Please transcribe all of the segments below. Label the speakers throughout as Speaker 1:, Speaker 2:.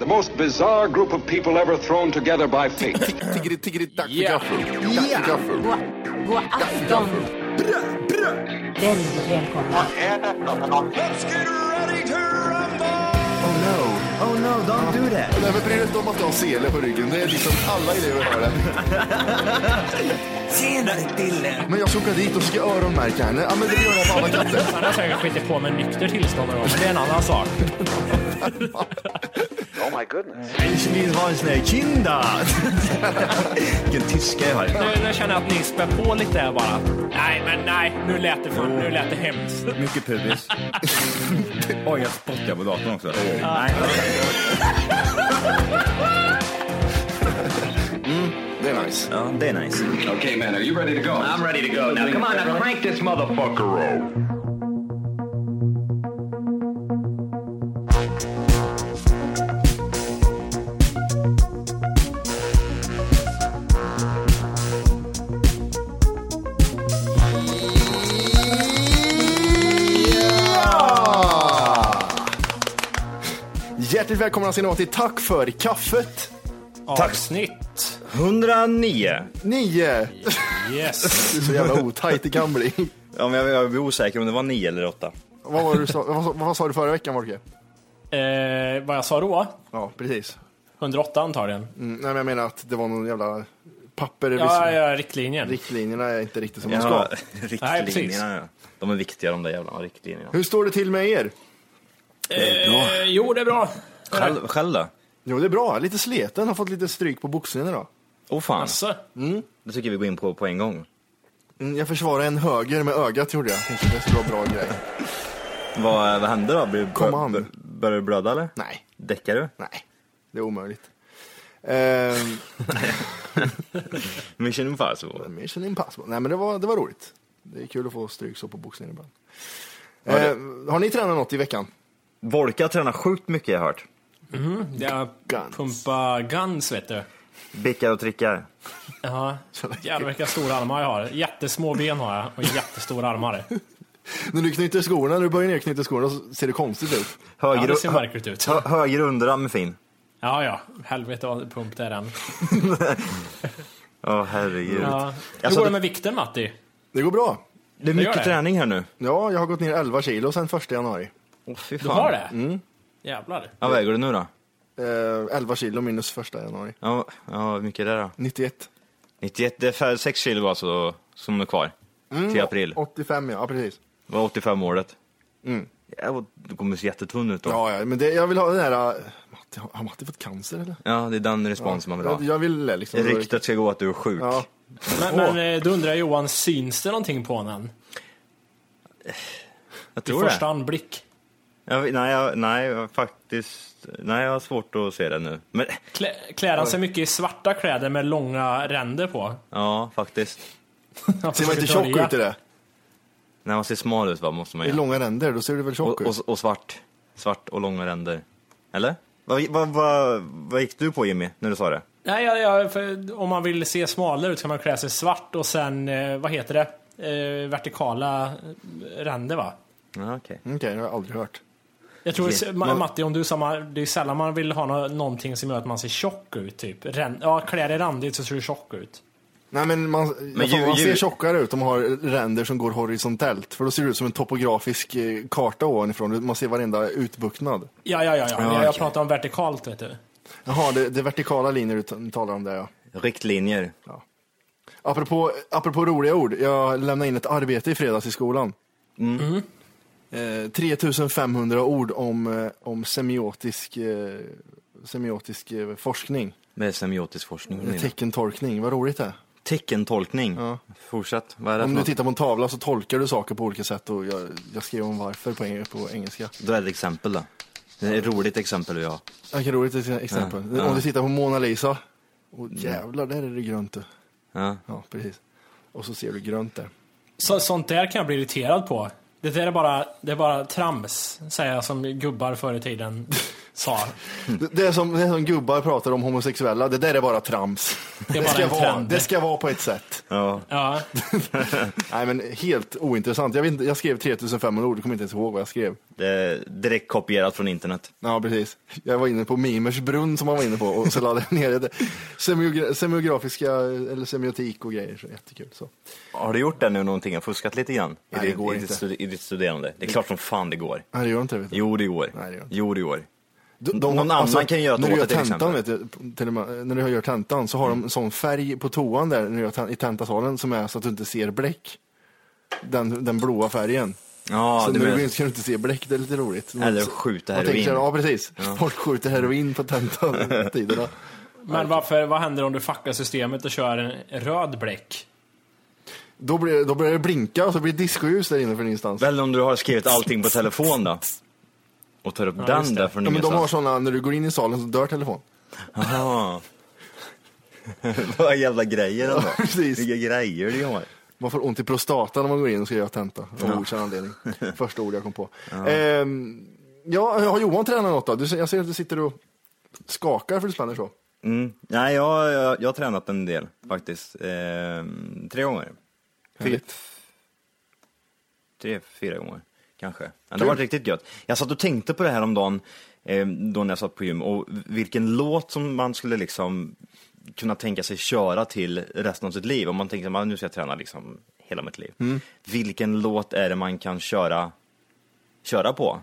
Speaker 1: The most bizarre group of people ever thrown together by fate.
Speaker 2: Tiggeri, tiggeri, dack för gaffel. Dack för gaffel.
Speaker 3: God afton! Väldigt välkomna.
Speaker 4: Oh no, oh no, don't do that.
Speaker 2: Nej, men bry dig inte om att du har sele på ryggen. Det är liksom alla elever har det.
Speaker 4: Tjenare Dille!
Speaker 2: Men jag ska åka dit och ska öronmärka henne. Ja, men det gör jag på alla katter.
Speaker 5: Han har säkert skitit på med nykter tillstånd någon gång, men det är en annan sak.
Speaker 4: Ich will was ne Kinder! Vilken tyska jag har.
Speaker 5: Nu, nu känner jag att ni spär på lite här bara. Nej, men nej, nu lät det, för, nu lät det hemskt.
Speaker 4: Mycket pubis. Oj, jag spottar på datorn också. Nej.
Speaker 1: Mm,
Speaker 2: Det är nice.
Speaker 4: Ja, det är nice.
Speaker 1: okay, man, are you ready to go? I'm ready to go. Now, come on, now crank this motherfucker up.
Speaker 2: Hjärtligt välkomna ska ni vara till Tack för kaffet.
Speaker 5: Avsnitt.
Speaker 4: 109.
Speaker 2: Nio.
Speaker 5: Yes.
Speaker 2: Så jävla otajt det kan bli.
Speaker 4: Ja, men jag, jag blir osäker om det var 9 eller 8.
Speaker 2: Vad, var det du sa, vad, vad sa du förra veckan, Marke?
Speaker 5: Eh, vad jag sa då?
Speaker 2: Ja, precis.
Speaker 5: 108 antagligen.
Speaker 2: Mm, nej, men jag menar att det var någon jävla papper.
Speaker 5: Ja,
Speaker 2: Ja,
Speaker 5: ja, riktlinjen.
Speaker 2: Riktlinjerna är inte riktigt som de
Speaker 4: Ja,
Speaker 2: ska.
Speaker 5: Nej, precis.
Speaker 4: riktlinjerna. ja. De är viktiga de där jävla riktlinjerna.
Speaker 2: Hur står det till med er?
Speaker 5: Eh, jo, det är bra.
Speaker 4: Själv, själv då?
Speaker 2: Jo, det är bra. Lite sleten. Har fått lite stryk på boxningen idag.
Speaker 4: Åh fan,
Speaker 5: Alltså,
Speaker 4: det tycker vi går in på på en gång.
Speaker 2: Mm, jag försvarade en höger med ögat, gjorde jag. Tänkte det skulle vara bra grej.
Speaker 4: Vad, vad hände då? Blir,
Speaker 2: Kom an.
Speaker 4: bör- Börjar du blöda eller?
Speaker 2: Nej,
Speaker 4: Däckar du?
Speaker 2: nej. Det är omöjligt. Ehm,
Speaker 4: Mission impossible.
Speaker 2: Mission impossible. Nej, men det var, det var roligt. Det är kul att få stryk så på boxningen ibland.
Speaker 4: det-
Speaker 2: Ehm, har ni tränat något i veckan?
Speaker 4: Volka tränar sjukt mycket har jag hört.
Speaker 5: jag
Speaker 2: Guns.
Speaker 5: pumpar guns, vet du.
Speaker 4: Bickar och trickar.
Speaker 5: Ja. Jävlar vilka stora armar jag har. Jättesmå ben har jag och jättestora armar.
Speaker 2: När du knyter skorna, när du börjar ner knyta skorna så ser det konstigt ut.
Speaker 5: Ja,
Speaker 4: Höger,
Speaker 5: det ser
Speaker 4: hö-
Speaker 5: märkligt ut.
Speaker 4: hö- höger underarm är fin.
Speaker 5: Ja, ja. Helvete vad pump det är den.
Speaker 4: Ja, herregud.
Speaker 5: Ja. Hur
Speaker 4: Alltså,
Speaker 5: går det
Speaker 4: det-
Speaker 5: med vikten, Matti?
Speaker 2: Det går bra.
Speaker 4: Det är
Speaker 5: gör
Speaker 4: mycket
Speaker 5: det.
Speaker 4: träning här nu.
Speaker 2: Ja, jag har gått ner 11 kilo sedan 1 januari.
Speaker 4: Åh fy
Speaker 5: Du
Speaker 4: fan.
Speaker 5: har det?
Speaker 2: Mm.
Speaker 5: Jävlar.
Speaker 4: Ja, vad väger du nu då?
Speaker 2: Ehm, 11 kilo minus 1 januari.
Speaker 4: Ja, ja, hur mycket är det då?
Speaker 2: 91.
Speaker 4: 91, det är fär- 6 kilo alltså som är kvar.
Speaker 2: Mm.
Speaker 4: Till april.
Speaker 2: 85 ja, ja precis.
Speaker 4: Det var 85 året. Ja, du kommer se jättetunn ut då. Ja,
Speaker 2: Mm. Ja, ja, men det, jag vill ha den här... äh, Matti, har Matti fått cancer eller?
Speaker 4: det är den respons man vill ha.
Speaker 2: Jag, jag vill det, liksom...
Speaker 4: Ryktet ska gå att du är sjuk.
Speaker 2: Ja.
Speaker 5: Men, men eh, då undrar jag Johan, syns det någonting på honom?
Speaker 4: jag
Speaker 5: I
Speaker 4: tror det.
Speaker 5: första anblick.
Speaker 4: Jag, nej, jag, nej, jag, faktiskt. Nej, jag har svårt att se det nu. Men,
Speaker 5: Klä, klär han sig mycket i svarta kläder med långa ränder på?
Speaker 4: ja, faktiskt.
Speaker 5: Han
Speaker 2: Ser man
Speaker 5: försöker
Speaker 2: inte tjock
Speaker 5: dölja.
Speaker 2: ut i det?
Speaker 4: När man ser smal ut, va, måste man
Speaker 2: I
Speaker 4: göra.
Speaker 2: långa ränder, då ser du väl tjock
Speaker 4: Och,
Speaker 2: ut?
Speaker 4: och, och svart. Svart och långa ränder. Eller? Vad vad vad- vad gick du på Jimmy, när du sa det?
Speaker 5: Nej, jag, jag, för om man vill se smalare ut kan man klä sig svart och sen, eh, vad heter det? Eh, vertikala eh, ränder va?
Speaker 4: Ja, okej.
Speaker 2: Mm, Okej, det har jag aldrig hört.
Speaker 5: Jag tror,
Speaker 4: Okej.
Speaker 5: Ma- Matti, om du sa, man- det är sällan man vill ha nå- någonting som gör att man ser tjock ut. Typ. Rän- Ja, klär dig randigt så ser du tjock ut.
Speaker 2: Nej men man, men
Speaker 4: ju-
Speaker 2: man ser
Speaker 4: ju-
Speaker 2: tjockare ut om man har ränder som går horisontellt. För då ser det ut som en topografisk eh, karta ovanifrån. Man ser varenda utbuktnad.
Speaker 5: Ja, ja, ja. ja.
Speaker 2: Ja,
Speaker 5: jag
Speaker 2: okej.
Speaker 5: pratar om vertikalt, vet du.
Speaker 2: Jaha, det, det är vertikala linjer du t- talar om där ja.
Speaker 4: Riktlinjer.
Speaker 2: Apropå, apropå roliga ord, jag lämnade in ett arbete i fredags i skolan. Mm.
Speaker 4: Mm.
Speaker 2: Eh, 3500 ord om, eh, om semiotisk, eh, semiotisk eh, forskning.
Speaker 4: Med semiotisk forskning. Nina.
Speaker 2: Teckentolkning, vad roligt det är.
Speaker 4: Teckentolkning. Fortsätt. Vad är det
Speaker 2: Om
Speaker 4: för
Speaker 2: du
Speaker 4: något?
Speaker 2: tittar på en tavla så tolkar du saker på olika sätt och jag, jag skrev om varför på, eng- på engelska.
Speaker 4: Då är det ett exempel då. Det är ett roligt exempel du har.
Speaker 2: Vilket roligt ex- exempel.
Speaker 4: Ja, ja.
Speaker 2: Om du tittar på Mona Lisa. Och jävlar, där är det grönt. du.
Speaker 4: Ja.
Speaker 2: Ja, precis. Och så ser du grönt där.
Speaker 5: Så, sånt där kan jag bli irriterad på. Det där är bara, det är bara trams, säger jag som gubbar förr i tiden sa.
Speaker 4: Mm.
Speaker 2: Det- Det är, som, det är som gubbar pratar om homosexuella, det där är bara trams.
Speaker 5: Det är bara
Speaker 2: ska,
Speaker 5: en
Speaker 2: vara,
Speaker 5: trend.
Speaker 2: det ska vara på ett sätt.
Speaker 4: Ja.
Speaker 5: Ja.
Speaker 2: Nej men helt ointressant. Jag, vet inte, jag skrev 3500 ord, jag kommer inte ens ihåg vad jag skrev.
Speaker 4: Det är direkt kopierat från internet.
Speaker 2: Ja precis. Jag var inne på Mimers brunn som man var inne på och så laddade jag ner det. Semiogra- semiografiska, eller semiotik och grejer. Så jättekul. Så.
Speaker 4: Har du gjort det nu någonting? Jag har fuskat lite grann?
Speaker 2: Nej,
Speaker 4: I,
Speaker 2: det
Speaker 4: ditt-
Speaker 2: går
Speaker 4: i
Speaker 2: inte.
Speaker 4: Ditt stud- I ditt studerande. Det är klart som fan det går.
Speaker 2: Nej det gör inte det vet du.
Speaker 4: Jo, det går.
Speaker 2: Nej, det gör inte.
Speaker 4: Jo, det går.
Speaker 2: De,
Speaker 4: Någon annan kan göra det
Speaker 2: när du
Speaker 4: åt
Speaker 2: gör
Speaker 4: dig, till
Speaker 2: tentan, vet
Speaker 4: exempel.
Speaker 2: du, till och med, När du gör tentan så har de en sån färg på toan där när du gör ten- i tentasalen som är så att du inte ser bläck. Den, den blåa färgen.
Speaker 4: Ja, du
Speaker 2: så när du
Speaker 4: menar-
Speaker 2: går in så kan du inte se bläck, det är lite roligt.
Speaker 4: Eller skjuta
Speaker 2: Man tänker så här,
Speaker 4: heroin.
Speaker 2: Ja precis, folk skjuter heroin på tentan-tiderna.
Speaker 5: Men varför, vad händer om du fuckar systemet och kör en röd bläck?
Speaker 2: Då, blir- då börjar det blinka och så blir det discoljus där inne för ingenstans.
Speaker 4: Väl om du har skrivit allting på telefon då? Och tar upp den där från
Speaker 2: Ja, men de har
Speaker 4: ingenstans.
Speaker 2: sådana, när du går in i salen så dör telefon.
Speaker 4: Aha. Vad jävla grejer ändå.
Speaker 2: Ja, precis.
Speaker 4: Vilka grejer du har.
Speaker 2: Man får ont i prostatan när man går in och ska göra tenta. Av okänd anledning. Första ord jag kom på. Ehm, ja, har Johan tränat något då? Du, ser- jag ser att du sitter och skakar för du spänner så.
Speaker 4: Mm. Nej, jag, jag, jag har tränat en del faktiskt. Eh, tre gånger.
Speaker 2: Härligt.
Speaker 4: Tre, fyra gånger kanske. Men det har varit riktigt gött. Jag satt och tänkte på det här om dagen, eh, då när jag satt på gym, och vilken låt som man skulle liksom kunna tänka sig köra till resten av sitt liv. Om man tänker att nu ska jag träna liksom hela mitt liv.
Speaker 2: Mm.
Speaker 4: Vilken låt är det man kan köra, köra på?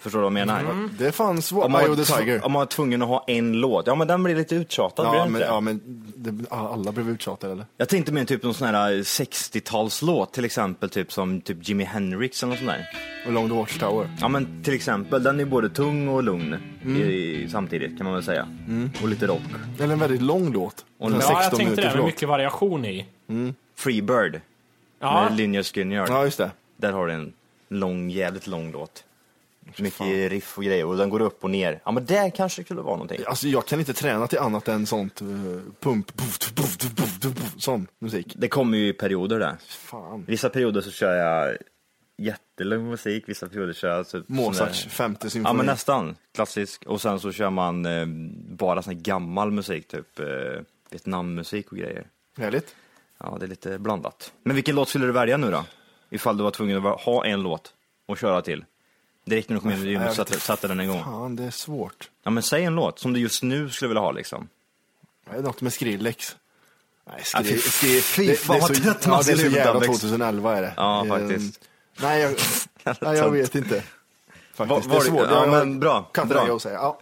Speaker 4: Förstår du vad jag menar?
Speaker 2: Det fanns
Speaker 4: Mm. Om man,
Speaker 2: Eye
Speaker 4: var
Speaker 2: of Mm. the
Speaker 4: tv-
Speaker 2: Tiger.
Speaker 4: om man var tvungen att ha en låt, ja men den blir lite uttjatad, blir
Speaker 2: Ja,
Speaker 4: den
Speaker 2: men,
Speaker 4: inte?
Speaker 2: ja, men det, alla blev uttjatade eller?
Speaker 4: Jag tänkte mer typ någon sån här 60-talslåt, till exempel typ som typ Jimi Hendrix eller något sånt där.
Speaker 2: Along the Watchtower.
Speaker 4: Ja men till exempel, den är ju både tung och lugn
Speaker 5: Mm.
Speaker 4: i, samtidigt kan man väl säga. Och lite rock.
Speaker 2: Eller en väldigt lång låt.
Speaker 4: Och
Speaker 2: Den
Speaker 4: en
Speaker 2: är
Speaker 5: Ja, jag
Speaker 2: 16
Speaker 5: tänkte det,
Speaker 2: minuters
Speaker 5: med
Speaker 2: lång.
Speaker 5: mycket variation i.
Speaker 4: Free Bird
Speaker 5: Ja,
Speaker 4: med Linus Skinner.
Speaker 2: Ja, just det.
Speaker 4: Där har du en lång, jävligt lång låt. Mycket riff och grejer och den går upp och ner. Ja men det kanske skulle vara någonting.
Speaker 2: Alltså jag kan inte träna till annat än sånt eh, pump, puff, puff, puff, puff, puff, sån musik.
Speaker 4: Det kommer ju i perioder där.
Speaker 2: Fan.
Speaker 4: Vissa perioder så kör jag jättelugn musik, vissa perioder kör jag typ
Speaker 2: Mozarts
Speaker 4: sån där-
Speaker 2: femte symfoni.
Speaker 4: Ja men nästan, klassisk. Och sen så kör man eh, bara sån här gammal musik, typ eh, Vietnammusik och grejer.
Speaker 2: Härligt.
Speaker 4: Ja, det är lite blandat. Men vilken låt skulle du välja nu då? Ifall du var tvungen att va- ha en låt och köra till. Direkt när du kom in i
Speaker 2: jag
Speaker 4: gymmet
Speaker 2: vet
Speaker 4: satte,
Speaker 2: inte.
Speaker 4: satte den igång.
Speaker 2: Fan, det är svårt.
Speaker 4: Ja men säg en låt som du just nu skulle vilja ha liksom.
Speaker 2: Det är något med Skrillex. Nej,
Speaker 4: Ja, fy- fy
Speaker 2: det-
Speaker 4: fan,
Speaker 2: det är
Speaker 4: vad
Speaker 2: så-
Speaker 4: trött man
Speaker 2: ja, Det är
Speaker 4: ser
Speaker 2: så
Speaker 4: ut
Speaker 2: jävla
Speaker 4: av växt.
Speaker 2: 2011 är det.
Speaker 4: Ja,
Speaker 2: Ehm,
Speaker 4: faktiskt.
Speaker 2: Nej, jag, nej, jag vet inte.
Speaker 4: Var-
Speaker 2: Faktiskt,
Speaker 4: var
Speaker 2: det är
Speaker 4: det-
Speaker 2: svårt.
Speaker 4: ja,
Speaker 2: Jag-
Speaker 4: men bra,
Speaker 2: Katten
Speaker 4: bra.
Speaker 2: är jag och säger. Ja.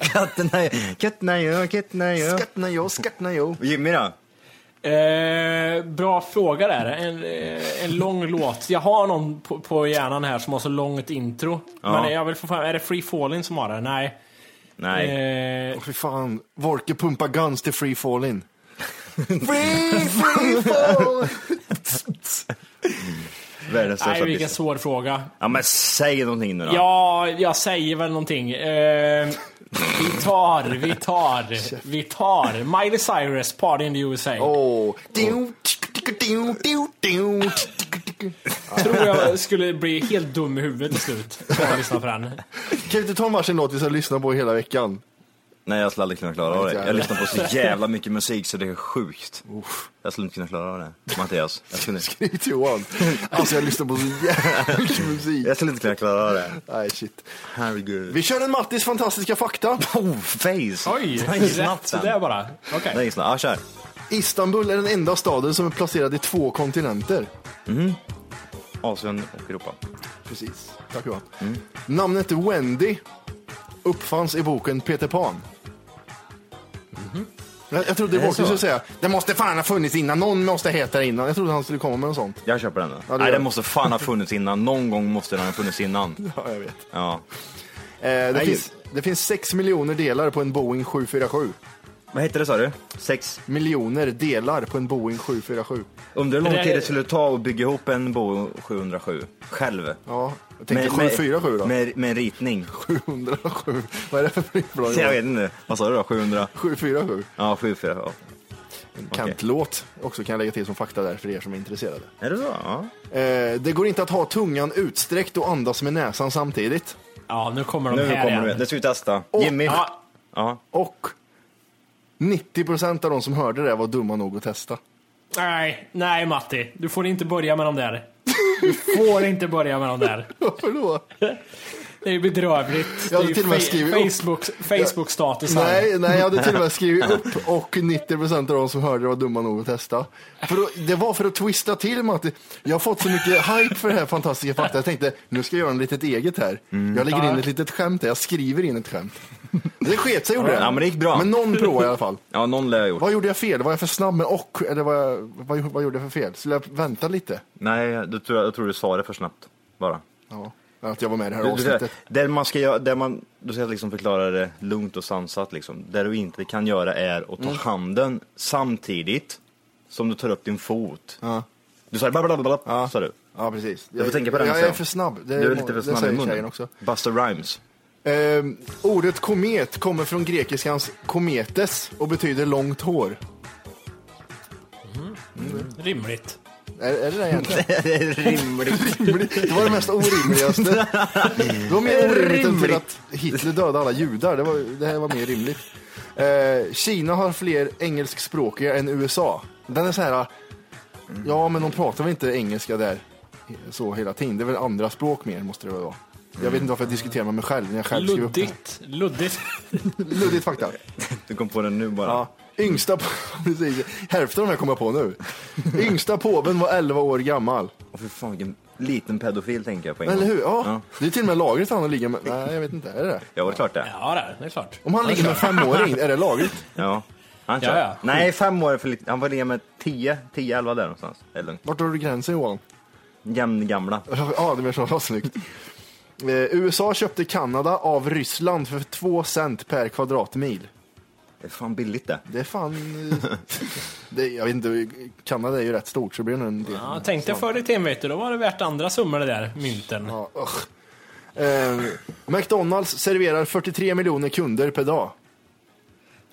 Speaker 4: Katterna, katterna, ja, katterna, ja.
Speaker 2: Skattna jag, skattna jag.
Speaker 4: Jimmy då?
Speaker 5: eh, bra fråga där. En, eh, en lång låt. Jag har någon på, på hjärnan här som har så långt intro. Men jag vill få fram, är det Free Falling som har det? Nej.
Speaker 4: Nej.
Speaker 5: Eh,
Speaker 2: Åh, Fy fan, Vorke pumpar guns till Free Fallin.
Speaker 4: Världens
Speaker 5: nej,
Speaker 4: största
Speaker 5: vilken
Speaker 4: artist.
Speaker 5: svår fråga.
Speaker 4: Ja men säg någonting nu då.
Speaker 5: Ja, jag säger väl någonting. Eh, vi tar, vi tar, vi tar. Miley Cyrus, Party in the USA.
Speaker 2: Åh. Ding, tick, tick, ding, ding, ding, tick, tick, tick.
Speaker 5: Tror jag skulle bli helt dum i huvudet till slut. Bara att lyssna på den.
Speaker 2: Kan vi inte ta en varsin låt vi ska lyssna på hela veckan?
Speaker 4: Nej jag skulle aldrig kunna klara av det.
Speaker 2: jävlar.
Speaker 4: Jag lyssnar på så jävla mycket musik så det är sjukt. Jag skulle inte kunna klara av det. Mattias, jag skulle,
Speaker 2: Skriv Johan. Alltså jag lyssnar på så jävla mycket musik.
Speaker 4: jag skulle inte kunna klara av det.
Speaker 2: Nej, shit.
Speaker 4: Herregud.
Speaker 2: Vi kör en Mattis fantastiska fakta.
Speaker 4: Oh, face!
Speaker 5: Oj,
Speaker 4: Den är
Speaker 5: rätt
Speaker 4: snabbt
Speaker 5: sådär bara. Okej.
Speaker 4: Den är snabb. Ja, kör.
Speaker 2: Istanbul är den enda staden som är placerad i två kontinenter.
Speaker 4: Asien och Europa.
Speaker 2: Precis. Tack Johan. Namnet Wendy uppfanns i boken Peter Pan. Jag, jag trodde
Speaker 4: Är det
Speaker 2: Walker
Speaker 4: så?
Speaker 2: skulle säga, Mhm. det måste fan ha funnits innan, någon måste heta det innan. Jag trodde han skulle komma med något sånt.
Speaker 4: Jag köper den då.
Speaker 2: gör
Speaker 4: Nej,
Speaker 2: jag.
Speaker 4: den måste fan ha funnits innan. Någon gång måste den ha funnits innan.
Speaker 2: Ja, jag vet.
Speaker 4: Ja.
Speaker 2: Eh, det,
Speaker 4: Nej.
Speaker 2: finns, det finns 6 miljoner delar på en Boeing 747.
Speaker 4: Vad hette det sa du? Sex?
Speaker 2: Miljoner delar på en Boeing 747.
Speaker 4: Undrar hur lång
Speaker 5: Det där
Speaker 4: tid
Speaker 5: är-
Speaker 4: det skulle ta att bygga ihop en Bo 707 själv.
Speaker 2: Ja, jag tänkte 747 då.
Speaker 4: Med, med en ritning.
Speaker 2: 707, vad är det för flygplan?
Speaker 4: Jag vet inte. Vad sa du då? 700?
Speaker 2: 747.
Speaker 4: Ja, 74.
Speaker 2: En kantlåt också kan jag lägga till som fakta där för er som är intresserade.
Speaker 4: Ja. Är det så? Ja.
Speaker 2: Eh, det går inte att ha tungan utsträckt och andas med näsan samtidigt.
Speaker 5: Ja, nu kommer de
Speaker 4: Nu
Speaker 5: här
Speaker 4: kommer du.
Speaker 5: igen.
Speaker 4: Nu ska vi testa.
Speaker 2: Åh, ah.
Speaker 4: Jimmy.
Speaker 5: Ja,
Speaker 4: Ja.
Speaker 2: Och 90% av de som hörde det var dumma nog att testa.
Speaker 5: nej, nej Matti. Du får inte börja med de där. Du får inte börja med de där.
Speaker 2: Varför då?
Speaker 5: Det är ju bedrövligt.
Speaker 2: Jag hade
Speaker 5: det är ju
Speaker 2: till och med
Speaker 5: fe-
Speaker 2: skrivit upp.
Speaker 5: Facebook, Facebook-status här.
Speaker 2: Nej, nej, jag hade till och med skrivit upp och 90% av de som hörde det var dumma nog att testa. För att, det var för att twista till med att jag har fått så mycket hype för det här fantastiska fakta. Jag tänkte, nu ska jag göra en litet eget här.
Speaker 4: Mm.
Speaker 2: Jag lägger in ett litet skämt här, jag skriver in ett skämt. Det sket sig gjorde
Speaker 4: Ja, men det gick bra.
Speaker 2: Men någon provar i alla fall.
Speaker 4: ja, någon lär ha gjort.
Speaker 2: Vad gjorde jag fel? Var jag för snabb med och? Eller vad, jag, vad, vad gjorde jag för fel? Skulle jag vänta lite?
Speaker 4: Nej, du tror, jag tror du sa det för snabbt bara.
Speaker 2: Ja, att jag var med i det här
Speaker 4: Du, du,
Speaker 2: avsnittet.
Speaker 4: där man ska göra, där man, du ska liksom förklara det lugnt och sansat liksom. Det du inte kan göra är att ta
Speaker 2: Mm.
Speaker 4: handen samtidigt som du tar upp din fot.
Speaker 2: Ja.
Speaker 4: Du sa blablabla,
Speaker 2: Ja.
Speaker 4: sa du.
Speaker 2: Ja, precis.
Speaker 4: Jag får tänka på den
Speaker 2: Jag,
Speaker 4: sen.
Speaker 2: är för snabb. Det,
Speaker 4: Du är lite för snabb
Speaker 2: det
Speaker 4: i
Speaker 2: säger tjejen
Speaker 4: munnen.
Speaker 2: också.
Speaker 4: Buster Rhymes.
Speaker 2: Ehm, ordet komet kommer från grekiskans kometes och betyder långt hår.
Speaker 5: Rimligt.
Speaker 2: Är, är det det egentligen?
Speaker 4: det är rimligt.
Speaker 2: Det var det mest orimligaste. Det var mer orimligt än till att
Speaker 4: Rimligt.
Speaker 2: Hitler dödade alla judar. Det, var, det här var mer rimligt. Eh, Kina har fler engelskspråkiga än USA. Den är så här, ja men de pratar väl inte engelska där så hela tiden. Det är väl andra språk mer måste det väl vara. Jag vet inte varför jag diskuterar med mig själv när jag själv skriver upp det.
Speaker 5: Luddigt. Luddigt.
Speaker 2: Luddigt fakta.
Speaker 4: Du kom på den nu bara.
Speaker 2: Ja. Yngsta, precis, hälften av de här kommer jag på nu. Yngsta påven var 11 år gammal.
Speaker 4: Åh, fy fan, vilken liten pedofil tänker jag på en
Speaker 2: Eller
Speaker 4: gång.
Speaker 2: hur? Ja.
Speaker 4: Ja.
Speaker 2: Det är till och med lagligt att han ligger med. Nej, jag vet inte. Är det det?
Speaker 4: Ja, det är klart det. Ja.
Speaker 5: Ja, det är klart.
Speaker 2: Om han ligger med en femåring, är det lagligt?
Speaker 4: Han
Speaker 5: Ja,
Speaker 4: kör.
Speaker 5: ja.
Speaker 4: Nej, fem år är för lite. Han var med 10, 10, 11 där någonstans. Det är lugnt.
Speaker 2: Vart drar du gränsen Johan?
Speaker 4: Jämn gamla.
Speaker 2: Ja, det var så vad snyggt. Eh, USA köpte Kanada av Ryssland för 2 cent per kvadratmil.
Speaker 4: Det är fan billigt det.
Speaker 2: Det är fan... eh, Det, jag vet inte, Kanada är ju rätt stort så det blir nog en del.
Speaker 5: Ja, tänkte förr i tiden vet du, då var det värt andra summor det där mynten.
Speaker 2: Ja, usch. eh, McDonalds serverar 43 miljoner kunder per dag.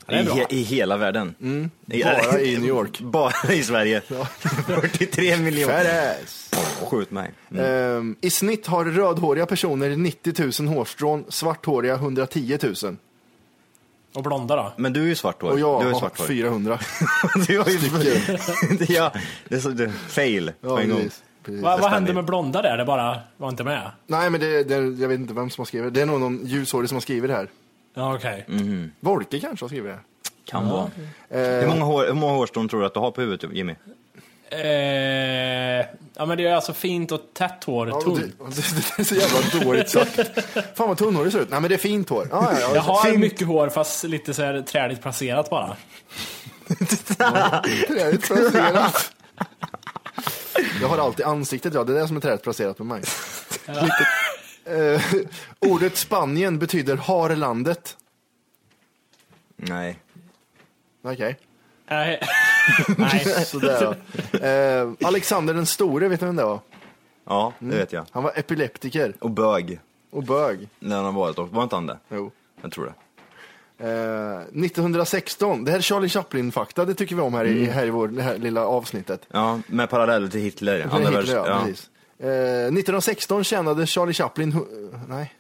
Speaker 5: det är bra.
Speaker 4: I, he- I hela världen. I,
Speaker 2: Mm. Bara i New York.
Speaker 4: Bara i Sverige. 43 miljoner.
Speaker 2: Färres.
Speaker 4: Skjut mig. Mm.
Speaker 2: Ehm, I snitt har rödhåriga personer 90 000 hårstrån, svarthåriga 110 000.
Speaker 5: Och blonda då.
Speaker 4: Men du är ju svart hår.
Speaker 2: Och jag
Speaker 4: du är
Speaker 2: har
Speaker 4: svart hår.
Speaker 2: 400.
Speaker 4: Du har ju
Speaker 2: stycken.
Speaker 4: ja, det är så, det, fail på
Speaker 2: Ja,
Speaker 4: en gång.
Speaker 2: precis, precis.
Speaker 5: Va, vad
Speaker 4: Nästan
Speaker 5: hände
Speaker 4: det.
Speaker 5: med blonda där? Det bara var inte med?
Speaker 2: Nej, men det, det, jag vet inte vem som har skrivit det. Det är nog någon ljushårig som har skrivit det här.
Speaker 5: Ja, okej.
Speaker 2: Mm. Volke kanske har skrivit det.
Speaker 4: Kan vara. Hur
Speaker 2: Eh.
Speaker 4: många, hår, hur många hårstrån tror du att du har på huvudet Jimmy?
Speaker 5: Eh, ja, men det är alltså fint och tätt hår.
Speaker 2: Ja, det,
Speaker 5: tunt.
Speaker 2: det, det är så jävla dåligt sagt. Fan vad tunnhårig ser ut. Nej, men det är fint hår. Ja, ja, ja.
Speaker 5: Jag har
Speaker 2: Fint.
Speaker 5: mycket hår fast lite så här träligt placerat bara.
Speaker 2: Träligt placerat. Jag har alltid ansiktet, ja. Det är det som är träligt placerat på mig. Lite, eh, ordet Spanien betyder harlandet.
Speaker 4: Nej.
Speaker 2: Okej,
Speaker 5: Nej. Nej.
Speaker 2: sådär. ja. Eh, Alexander den store, vet ni vem det var?
Speaker 4: Ja,
Speaker 2: Mm.
Speaker 4: det vet jag.
Speaker 2: Han var epileptiker
Speaker 4: Och bög.
Speaker 2: och bög.
Speaker 4: När han har varit också. Var inte han det?
Speaker 2: Jo.
Speaker 4: Jag tror det.
Speaker 2: Eh, 1916, det här är Charlie Chaplin-fakta, det tycker vi om här, i, här i vår, det här lilla avsnittet.
Speaker 4: Ja, med paralleller till Hitler. Andra
Speaker 2: Hitler,
Speaker 4: världs-
Speaker 2: ja, precis. Eh, 1916 tjänade Charlie Chaplin hu- eh, nej,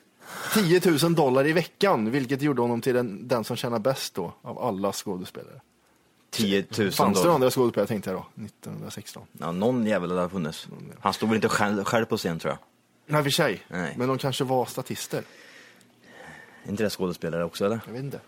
Speaker 2: 10 000 dollar i veckan, vilket gjorde honom till den, den som tjänar bäst då, av alla skådespelare.
Speaker 4: 10 000
Speaker 2: Fanns det
Speaker 4: dollar.
Speaker 2: andra skådespelare tänkte jag då, 1916?
Speaker 4: Ja, någon jävel hade funnits. Han stod väl inte själv, själv på scen tror jag.
Speaker 2: Nej, för sig.
Speaker 4: Nej.
Speaker 2: Men de kanske var statister.
Speaker 4: Är inte det skådespelare också eller?
Speaker 2: Jag vet inte.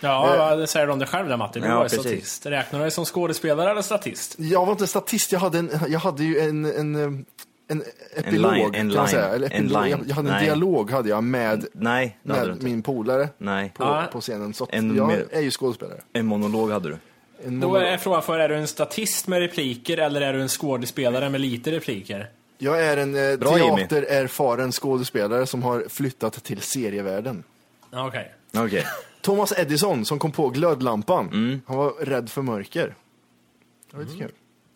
Speaker 5: Ja, det säger de det själv där Matti. Du
Speaker 4: Ja,
Speaker 5: var ju
Speaker 4: precis.
Speaker 5: statist. Räknar du dig som skådespelare eller statist?
Speaker 2: Jag var inte statist, jag hade, en, jag hade ju en, en, eh, en epilog,
Speaker 4: line, en
Speaker 2: kan
Speaker 4: line,
Speaker 2: man säga.
Speaker 4: en
Speaker 2: Eller epilog.
Speaker 4: line.
Speaker 2: Jag, jag hade en
Speaker 4: Nej.
Speaker 2: dialog hade jag med,
Speaker 4: Nej, det hade du
Speaker 2: med
Speaker 4: inte.
Speaker 2: min polare
Speaker 4: Nej.
Speaker 2: på,
Speaker 5: Ja.
Speaker 2: på scenen. Så att
Speaker 4: En
Speaker 2: jag
Speaker 4: mer-
Speaker 2: är ju skådespelare.
Speaker 4: En monolog hade du.
Speaker 2: En
Speaker 5: Då
Speaker 2: monolog.
Speaker 5: är frågan för, är du en statist med repliker eller är du en skådespelare med lite repliker?
Speaker 2: Jag är en eh,
Speaker 4: Bra, Jimmy.
Speaker 2: teatererfaren skådespelare som har flyttat till serievärlden.
Speaker 5: Okej.
Speaker 4: Okej.
Speaker 2: Thomas Edison som kom på glödlampan,
Speaker 4: Mm.
Speaker 2: han var rädd för mörker. Det var lite kul.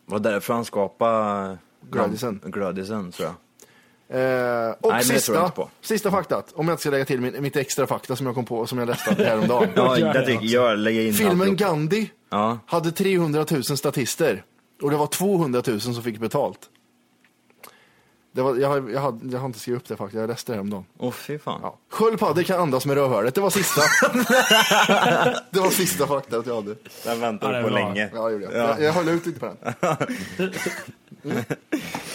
Speaker 4: Var det därför han skapade
Speaker 2: Glödisen.
Speaker 4: Glödisen, tror jag.
Speaker 2: Eh,
Speaker 4: men det
Speaker 2: och
Speaker 4: tror jag
Speaker 2: sista,
Speaker 4: inte på.
Speaker 2: sista faktat, om jag inte ska lägga till min, mitt extra fakta som jag kom på som jag läste häromdagen.
Speaker 4: Ja,
Speaker 5: Gör
Speaker 4: jag
Speaker 5: det
Speaker 4: tycker, gör, lägg in
Speaker 2: Filmen
Speaker 4: alltihop.
Speaker 2: Gandhi
Speaker 4: Ja.
Speaker 2: hade 300 000 statister och det var 200 000 som fick betalt. Det var, jag, har- jag, hade, jag har inte skrivit upp det faktiskt, jag läste det häromdagen.
Speaker 4: Åh, fy fan.
Speaker 2: Ja. Sköldpaddor kan andas med rövhålet, det var sista. det var sista faktat jag hade.
Speaker 4: Den
Speaker 5: Ja,
Speaker 4: väntade
Speaker 5: det
Speaker 4: du
Speaker 5: är
Speaker 4: på
Speaker 5: bra.
Speaker 4: länge.
Speaker 2: Ja, det gjorde jag.
Speaker 4: Ja.
Speaker 2: jag. Jag höll ut lite på den.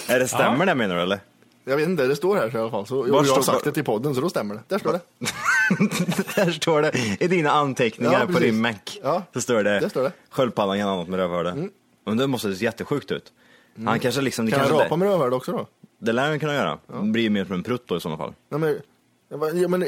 Speaker 4: Är det stämmer det menar du eller?
Speaker 2: Jag vet inte, det står här i alla fall. Så, och
Speaker 4: Var
Speaker 2: jag har
Speaker 4: står-
Speaker 2: sagt det till podden, så då stämmer det. Där står det.
Speaker 4: Där står det i dina anteckningar
Speaker 2: Ja,
Speaker 4: på
Speaker 2: precis.
Speaker 4: din Mac.
Speaker 2: Ja,
Speaker 4: Så står det,
Speaker 2: där står det. Mm.
Speaker 4: sköldpaddan kan annat med rövhålet. Men det måste se jättesjukt ut. Han kanske liksom, det,
Speaker 2: Kan jag
Speaker 4: kanske
Speaker 2: rapa
Speaker 4: det,
Speaker 2: med rövhålet också då?
Speaker 4: det lär han kunna göra. Det blir ju mer som en prutt då i sådana fall.
Speaker 2: Nej, men, jag bara, ja, men,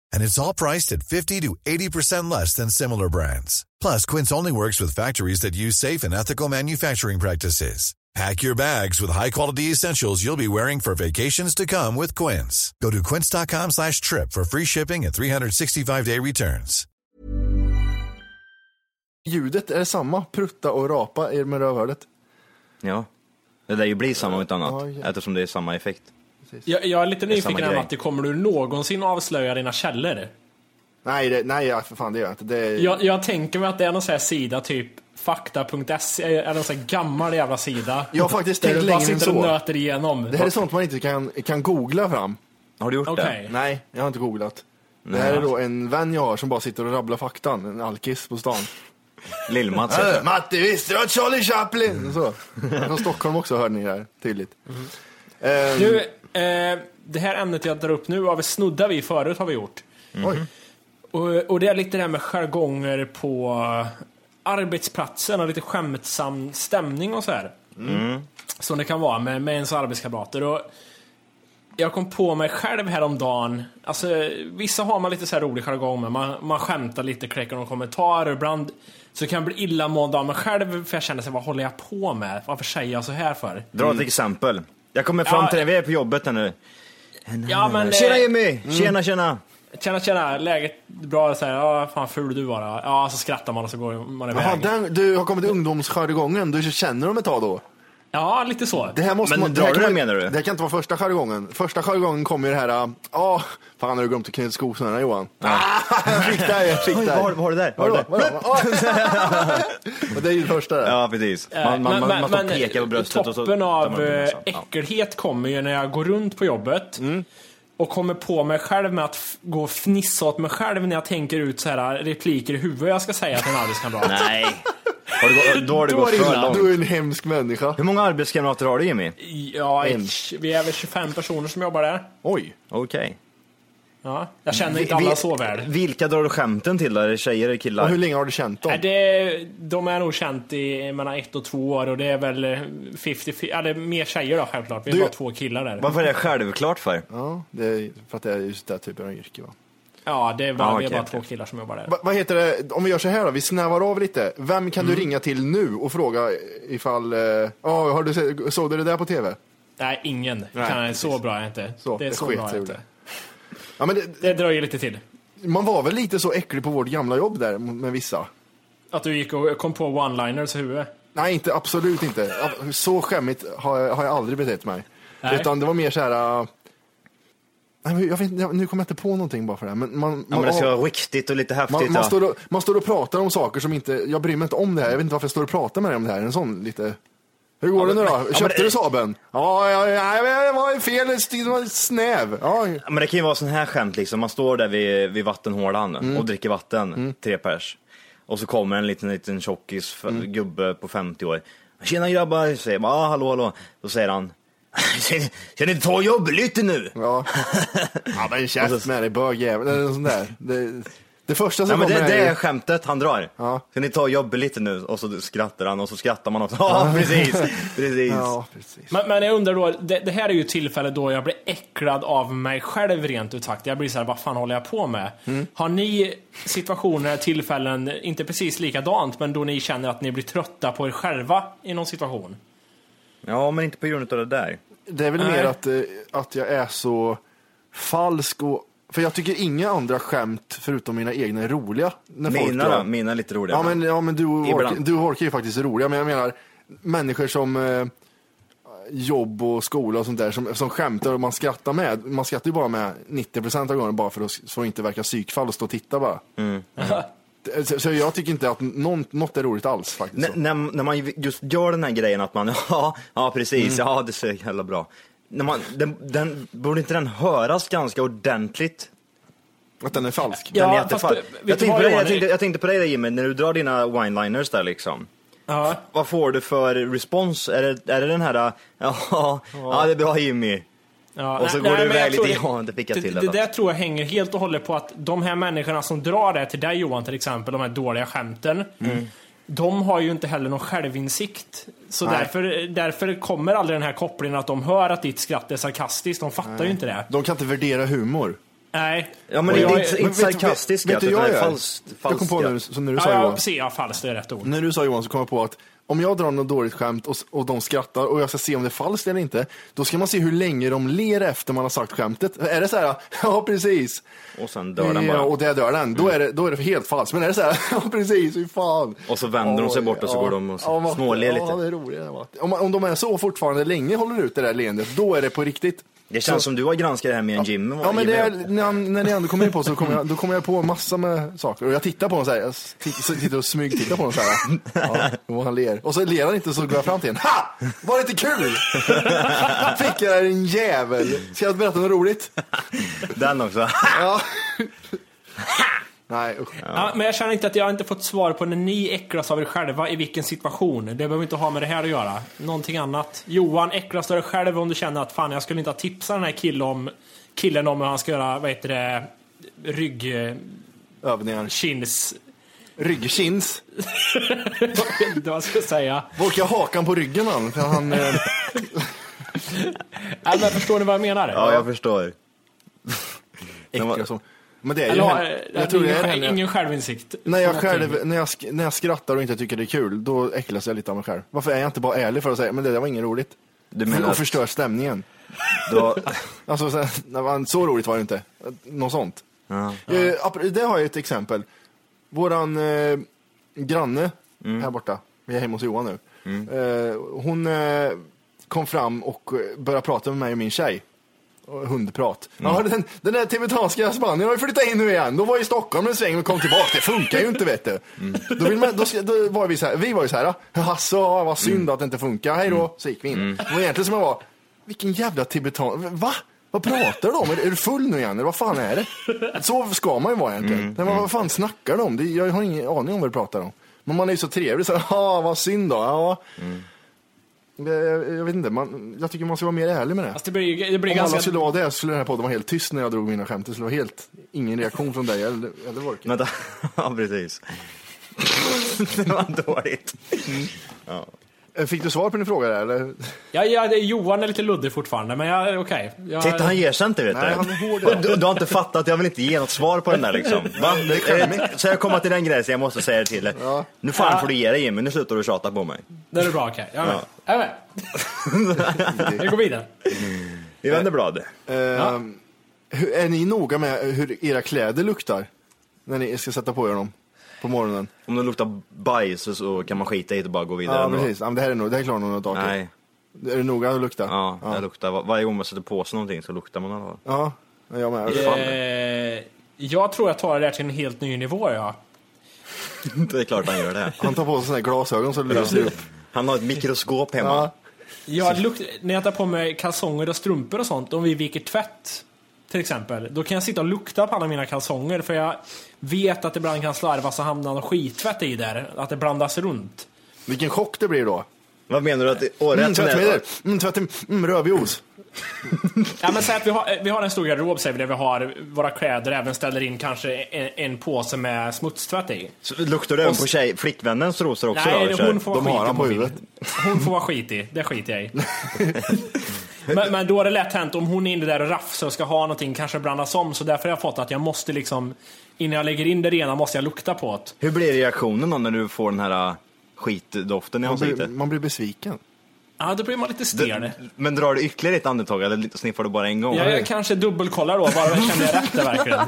Speaker 6: And it's all priced at 50 to 80% less than similar brands. Plus, Quince only works with factories that use safe and ethical manufacturing practices. Pack your bags with high-quality essentials you'll be wearing for vacations to come with Quince. Go to quince.com slash trip for free shipping and 365-day returns.
Speaker 2: ljudet är samma, prutta och rapa är med rövhålet.
Speaker 4: Ja. Det lär ju bli samma om inte annat,
Speaker 2: Ja, ja.
Speaker 4: eftersom det är samma effekt.
Speaker 5: Jag, jag är lite
Speaker 4: samma
Speaker 5: nyfiken här
Speaker 4: grej.
Speaker 5: Matti, kommer du någonsin avslöja dina
Speaker 2: Eh.
Speaker 5: källor?
Speaker 2: Nej, det, nej ja, för fan det gör jag inte. Det är,
Speaker 5: Jag, jag tänker mig att det är någon sån här sida, typ fakta.se, eller eh, någon sån här gammal jävla sida.
Speaker 2: Jag har faktiskt
Speaker 5: Där
Speaker 2: tänkt
Speaker 5: du bara
Speaker 2: längre än
Speaker 5: sitter och
Speaker 2: så.
Speaker 5: nöter igenom.
Speaker 2: Det här är sånt man inte kan, kan googla fram.
Speaker 4: Har du gjort
Speaker 5: Okej.
Speaker 4: det?
Speaker 2: Nej, jag har inte googlat. Det här är då en vän jag har som bara sitter och rabblar faktan, en alkis på stan.
Speaker 4: Lill-Mats
Speaker 2: Äh, Matti, visste du att Charlie Chaplin...
Speaker 4: Mm.
Speaker 2: Och Så. Han är Från Stockholm också hörde ni det här, tydligt. Ehm,
Speaker 5: Nu, eh, det här ämnet jag drar upp nu har vi snuddat vid förut, har vi gjort.
Speaker 2: Oj.
Speaker 5: Och, och det är lite det här med jargonger på arbetsplatsen och lite skämtsam stämning och så här. Som det kan vara med, med ens arbetskamrater. Och jag kom på mig själv häromdagen, alltså vissa har man lite så här rolig jargong med, man, man skämtar lite, kläcker någon kommentar, och ibland så kan jag bli illamående av mig själv för jag känner sig, vad håller jag på med? Varför säger jag så här för?
Speaker 4: Dra
Speaker 2: Mm.
Speaker 4: ett exempel. Jag kommer fram
Speaker 5: Ja.
Speaker 4: till det, vi är på jobbet här nu.
Speaker 5: Ja, men,
Speaker 4: tjena
Speaker 5: eh,
Speaker 4: Jimmy! Tjena tjena!
Speaker 5: Tjena tjena, läget bra? Så här, ja, fan ful du var då. Ja, så skrattar man och så går man iväg.
Speaker 2: Jaha, den, du har kommit till ungdomsjargongen, du känner dem ett tag då?
Speaker 5: Ja, lite så.
Speaker 2: Det här måste
Speaker 4: Men
Speaker 2: man,
Speaker 4: drar
Speaker 2: här
Speaker 4: du
Speaker 2: kan
Speaker 4: det,
Speaker 2: man-
Speaker 4: menar du?
Speaker 2: Det här kan inte vara första jargongen. Första jargongen kommer ju det här, ja, fan har du glömt att knyta skosnörena Johan? Ah, jag fick där, jag fick
Speaker 4: Oj,
Speaker 2: där.
Speaker 4: vad har- vad har du där? Vad har du
Speaker 2: Vadå? Vadå? Och det är ju det första där.
Speaker 4: Ja precis. Man, man, man, man står och pekar på bröstet och så...
Speaker 5: Eh, Toppen
Speaker 4: tar
Speaker 5: av
Speaker 4: man upp den
Speaker 5: eh,
Speaker 4: och så. Ja. Mm.
Speaker 5: äckelhet kommer ju när jag går runt på jobbet. Och kommer på mig själv med att f- gå och fnissa åt mig själv när jag tänker ut så här repliker i huvudet jag ska säga till en arbetskamrat.
Speaker 4: Nej. Har du, gå- då har det
Speaker 5: Då är
Speaker 4: gått
Speaker 5: det
Speaker 4: för
Speaker 5: illa.
Speaker 4: långt.
Speaker 2: Du är en hemsk människa.
Speaker 4: Hur många arbetskamrater har du Jimmy?
Speaker 5: Ja, ett- vi är väl 25 personer som jobbar där.
Speaker 2: Oj.
Speaker 4: Okej.
Speaker 5: Ja, jag känner inte alla
Speaker 4: Vi-
Speaker 5: så väl.
Speaker 4: Vilka drar du skämten till då? Är det tjejer eller
Speaker 2: Och hur
Speaker 4: killar?
Speaker 2: länge har du känt dem?
Speaker 5: Nej, det, de är nog känt i mellan ett och två år och det är väl 50, ja det är mer tjejer då självklart. Vi är
Speaker 2: Du-
Speaker 5: bara två killar där.
Speaker 4: Varför är det självklart för?
Speaker 2: Ja, det är för att det är just den typen av yrke va.
Speaker 5: Ja, det är bara,
Speaker 4: Ja,
Speaker 5: vi är
Speaker 4: okej,
Speaker 5: bara
Speaker 4: okej.
Speaker 5: två killar som jobbar där.
Speaker 2: Va, vad heter det, om vi gör så här då, vi snävar av lite. Vem kan
Speaker 4: Mm.
Speaker 2: du ringa till nu och fråga ifall, eh, ja har du, se- såg du det där på tv?
Speaker 5: Nej, ingen. kan, så bra är jag inte.
Speaker 2: Så,
Speaker 5: det är
Speaker 2: det
Speaker 5: så
Speaker 2: sket
Speaker 5: bra
Speaker 2: sig
Speaker 5: jag
Speaker 2: ur det.
Speaker 5: inte.
Speaker 2: Ja men det,
Speaker 5: Det dröjer lite till.
Speaker 2: man var väl lite så äcklig på vårt gamla jobb där med vissa.
Speaker 5: Att du gick och kom på one-liners i huvudet?
Speaker 2: Nej, inte, absolut inte. Ab- Så skämmigt har jag, har jag aldrig betett mig.
Speaker 5: Nej.
Speaker 2: Utan det var mer så här... äh, Nej, men jag vet, inte, jag, nu kommer jag inte på någonting bara för det här. Men man,
Speaker 4: Ja,
Speaker 2: man,
Speaker 4: men det ska vara riktigt och lite häftigt.
Speaker 2: man, man,
Speaker 4: ja.
Speaker 2: står och, man står och pratar om saker som inte... Jag bryr mig inte om det här. Jag vet inte varför jag står och pratar med dig om det här. En sån lite... Hur går det nu då? Köpte du Saaben? Ja, ja, ja, ja, det var ju fel. Det var snäv. Ja,
Speaker 4: Ja, Men det kan ju vara sån här skämt liksom, man står där vid, vid vattenhålan
Speaker 2: Mm.
Speaker 4: och dricker vatten, tre pers. Och så kommer en liten, liten tjockis f-
Speaker 2: Mm.
Speaker 4: gubbe på 50 år. Tjena grabbar, säger man, ah, hallå hallå. Då säger han, ska ni inte ta och jobba lite nu?
Speaker 2: ja. ja men käft med dig bögjävel. Eller något sånt där. Det, det första
Speaker 4: Nej,
Speaker 2: som
Speaker 4: Alltså- men det,
Speaker 2: kommer
Speaker 4: det
Speaker 2: är
Speaker 4: är
Speaker 2: ju-
Speaker 4: skämtet han drar.
Speaker 2: Ja.
Speaker 4: Ska ni ta och jobba lite nu? Och så skrattar han och så skrattar man också. Ja, precis, precis.
Speaker 2: Ja, precis.
Speaker 5: Men, men jag undrar då, det, det här är ju tillfället då jag blir äcklad av mig själv rent ut sagt. Jag blir så här, vad fan håller jag på med? Har ni situationer, tillfällen, inte precis likadant, men då ni känner att ni blir trötta på er själva i någon situation?
Speaker 4: Ja, men inte på grund av det där.
Speaker 2: Det är väl
Speaker 5: Nej.
Speaker 2: mer att, eh, att jag är så falsk och... För jag tycker inga andra skämt förutom mina egna är roliga. När folk
Speaker 4: Mina
Speaker 2: drar.
Speaker 4: då? Mina är lite roliga.
Speaker 2: Ja men, ja, men du, och
Speaker 4: Ibland.
Speaker 2: Hork- du och Horke är ju faktiskt roliga, men jag menar människor som eh, jobb och skola och sånt där som, som skämtar och man skrattar med. Man skrattar ju bara med 90% av gången bara för att, för att inte verka psykfall och stå och titta bara.
Speaker 5: Mm.
Speaker 2: Det- Så, så jag tycker inte att någon, något är roligt alls faktiskt.
Speaker 4: N- när, när man ju just gör den här grejen att man, ja, ja precis,
Speaker 2: Mm.
Speaker 4: ja det ser jävla bra. När man, den, den, borde inte den höras ganska ordentligt?
Speaker 2: Att den är falsk.
Speaker 5: Ja,
Speaker 4: den
Speaker 5: fast
Speaker 4: jättefall-
Speaker 5: det- vet du
Speaker 4: jag, tänkte
Speaker 5: vad,
Speaker 4: på dig,
Speaker 5: Johan?
Speaker 4: jag, tänkte, jag tänkte på dig där Jimmy, när du drar dina wineliners där liksom.
Speaker 5: Ja.
Speaker 4: Vad får du för respons? Är det, är det den här, ja, ja, ja det är bra Jimmy.
Speaker 5: Ja,
Speaker 4: Och så går du
Speaker 5: men jag
Speaker 4: iväg
Speaker 5: tror
Speaker 4: lite, ja, det fick jag till det
Speaker 5: det, det
Speaker 4: då.
Speaker 5: där tror jag hänger helt och hållet på att de här människorna som drar det till dig Johan till exempel, de här dåliga skämten.
Speaker 4: Mm.
Speaker 5: De har ju inte heller någon självinsikt. Så därför, därför kommer aldrig den här kopplingen att de hör att ditt skratt är sarkastiskt. De fattar ju inte det.
Speaker 2: De kan inte värdera humor.
Speaker 5: Nej.
Speaker 4: Ja men det
Speaker 5: Och jag
Speaker 4: är
Speaker 5: är-
Speaker 4: inte, inte
Speaker 2: vet du-
Speaker 4: sarkastiskt
Speaker 2: vet du
Speaker 4: utan
Speaker 2: jag
Speaker 4: det är
Speaker 2: gör?
Speaker 4: falskt.
Speaker 2: Jag kom
Speaker 4: falskt,
Speaker 2: på
Speaker 4: ja.
Speaker 2: nu, som när du sa
Speaker 5: Ja, ja,
Speaker 2: Johan.
Speaker 5: precis. Ja, falskt det är rätt ord.
Speaker 2: När du sa Johan så kom jag på att om jag drar något dåligt skämt och, s- och de skrattar och jag ska se om det är falskt eller inte, då ska man se hur länge de ler efter man har sagt skämtet. Är det så här, ja precis,
Speaker 4: Och sen dör den
Speaker 2: Ja,
Speaker 4: bara.
Speaker 2: och det dör den, då är det, då är det helt falskt. Men är det så här, ja precis, hur fan.
Speaker 4: Och så vänder de sig bort och så
Speaker 2: Ja,
Speaker 4: går de och
Speaker 2: ja, man-
Speaker 4: småler
Speaker 2: Ja, det
Speaker 4: lite.
Speaker 2: är roligt. det var. Om, man- om de är så fortfarande länge håller ut det där leendet, då är det på riktigt.
Speaker 4: Det känns som du har granskat det här mer än Jimmy.
Speaker 2: Ja, men det
Speaker 4: Jimmy.
Speaker 2: är, när, han- när ni ändå kommer in på så kommer jag, då kommer jag på massa med saker. Och jag tittar på honom så här, jag t- så tittar och smygtittar på honom så här. Ja, och han ler. Och så ler han inte så går jag fram till honom. Ha! Var det inte kul? Fick jag en jävel. Ska jag berätta något roligt?
Speaker 4: Den också.
Speaker 2: Ja. Nej, usch.
Speaker 5: Ja, men jag känner inte att jag inte fått svar på när ni äcklas av er själva, i vilken situation. Det behöver inte ha med det här att göra. Någonting annat. Johan, äcklas av dig själv om du känner att fan, jag skulle inte ha tipsat den här killen om, killen om hur han ska göra, vad heter det, rygg...
Speaker 2: Övningar.
Speaker 5: Chins...
Speaker 2: Ryggkins.
Speaker 5: Jag vet inte vad jag ska säga.
Speaker 2: Volkar hakan på ryggen han. För han eh,
Speaker 5: Äh, men förstår ni vad jag menar?
Speaker 4: Ja, jag förstår.
Speaker 2: äcklar som. Men det är ju
Speaker 5: Eller,
Speaker 2: henne-
Speaker 5: har-
Speaker 2: jag tror det är
Speaker 5: ingen,
Speaker 2: henne-
Speaker 5: ingen självinsikt.
Speaker 2: När jag,
Speaker 5: Någonting.
Speaker 2: själv, när, jag, sk- när jag skrattar och inte tycker det är kul, då äcklas jag lite av mig själv. Varför är jag inte bara ärlig för att säga, men det där var inget roligt?
Speaker 4: Du
Speaker 2: För-
Speaker 4: menar
Speaker 2: och
Speaker 4: att-
Speaker 2: förstör stämningen.
Speaker 4: Då,
Speaker 2: Alltså, så, här, när man, så roligt var det inte. Något sånt.
Speaker 4: ja.
Speaker 2: Eh, apro- det har jag ett exempel. Våran eh, granne
Speaker 4: Mm.
Speaker 2: här borta, vi är hemma hos Johan nu. Eh, hon eh, kom fram och eh, började prata med mig och min tjej. Och Hundprat. Ja, den, den där tibetanska spanien har ju flyttat in nu igen. De var i Stockholm en sväng och kom tillbaka. Det funkar ju inte vet du. Då, vill man, då, ska- då var vi så här, vi var ju så här, "Ah, jaså vad synd att det inte funkar, hej då. Så gick vi in. Det var egentligen som jag var, vilken jävla tibetan, va? Vad pratar du om? Är är du full nu igen? Eller vad fan är det? Så ska man ju vara egentligen. Men vad- vad fan snackar du om? Det- Jag har ingen aning om vad du pratar om. Men man är ju så trevlig så här, ja vad synd då. Ja. Jag, jag vet inte, man, jag tycker man ska vara mer ärlig med det.
Speaker 5: Fast det blir, det blir
Speaker 2: Om alla
Speaker 5: ganska...
Speaker 2: skulle vara det skulle den här podden vara helt tyst när jag drog mina skämt. Det skulle vara helt, ingen reaktion från dig eller, eller Volker.
Speaker 4: Vänta, ja precis. det var dåligt.
Speaker 2: Eh, Fick du svar på din fråga där eller?
Speaker 5: Ja, ja, det- Johan är lite luddig fortfarande, men jag, okej. Jag-
Speaker 4: Titta han ger sig inte vet du.
Speaker 2: Nej, han är hård.
Speaker 4: Och du, du har inte fattat, jag vill inte ge något svar på den där liksom. Va? Eh, Så jag kommer till den gränsen, jag måste säga det till dig. Nu fan får du ge dig Jimmy, nu slutar du tjata på mig.
Speaker 5: Det är bra, okej. Jag är med. Jag är med. Vi går vidare.
Speaker 4: Vi vänder blad.
Speaker 2: Eh, Hur- Är ni noga med hur era kläder luktar? När ni ska sätta på er dem på morgonen?
Speaker 4: Om det luktar bajs så- så kan man skita i det och bara gå vidare
Speaker 2: Ja,
Speaker 4: ändå.
Speaker 2: precis. Ja, men det här är nog, det här klarar nog något tag
Speaker 4: Nej,
Speaker 2: Är du noga att lukta?
Speaker 4: ja, det luktar. var- Varje gång man sätter på sig någonting så luktar man i alla fall.
Speaker 2: Ja, jag med.
Speaker 5: Eh, jag tror jag tar det där till en helt ny nivå, ja.
Speaker 4: Det är klart han gör det.
Speaker 2: Han tar på sig såna här glasögon så det lyser upp.
Speaker 4: Han har ett mikroskop hemma.
Speaker 2: Ja.
Speaker 5: Jag luk- när jag tar på mig kalsonger och strumpor och sånt, om vi viker tvätt till exempel, då kan jag sitta och lukta på alla mina kalsonger för jag vet att det ibland kan slarvas och hamna någon skittvätt i där, att det blandas runt.
Speaker 2: Vilken chock det blir då.
Speaker 4: Vad menar du att det året
Speaker 2: Mm, tvättmedel, mm, tvättmedel, mm, rödbjos.
Speaker 5: Ja, men säg att vi, har, eh, vi har en stor garderob säger vi, där vi har våra kläder, även ställer in kanske en, en påse med smutstvätt i.
Speaker 4: Luktar det även på tjej, flickvännens rosor också
Speaker 5: Nej,
Speaker 4: då?
Speaker 5: det-
Speaker 4: Kör.
Speaker 5: hon får
Speaker 2: De har
Speaker 5: skit i
Speaker 2: han på
Speaker 5: mobilen.
Speaker 2: huvudet.
Speaker 5: Hon får vara skitig, det skiter jag i. men, men då är det lätt hänt om hon är inne där och rafsar och ska ha någonting, kanske blandas om. Så därför har jag fått att jag måste liksom, innan jag lägger in det rena måste jag lukta på det.
Speaker 4: Hur blir reaktionen då när du får den här äh, skitdoften i
Speaker 2: Man blir,
Speaker 4: ansiktet?
Speaker 2: man blir besviken.
Speaker 5: Ja, då blir man lite stel.
Speaker 4: D- Men drar du ytterligare ett andetag eller sniffar du bara en gång?
Speaker 5: Jag, jag kanske dubbelkollar då, bara känner jag rätt det verkligen.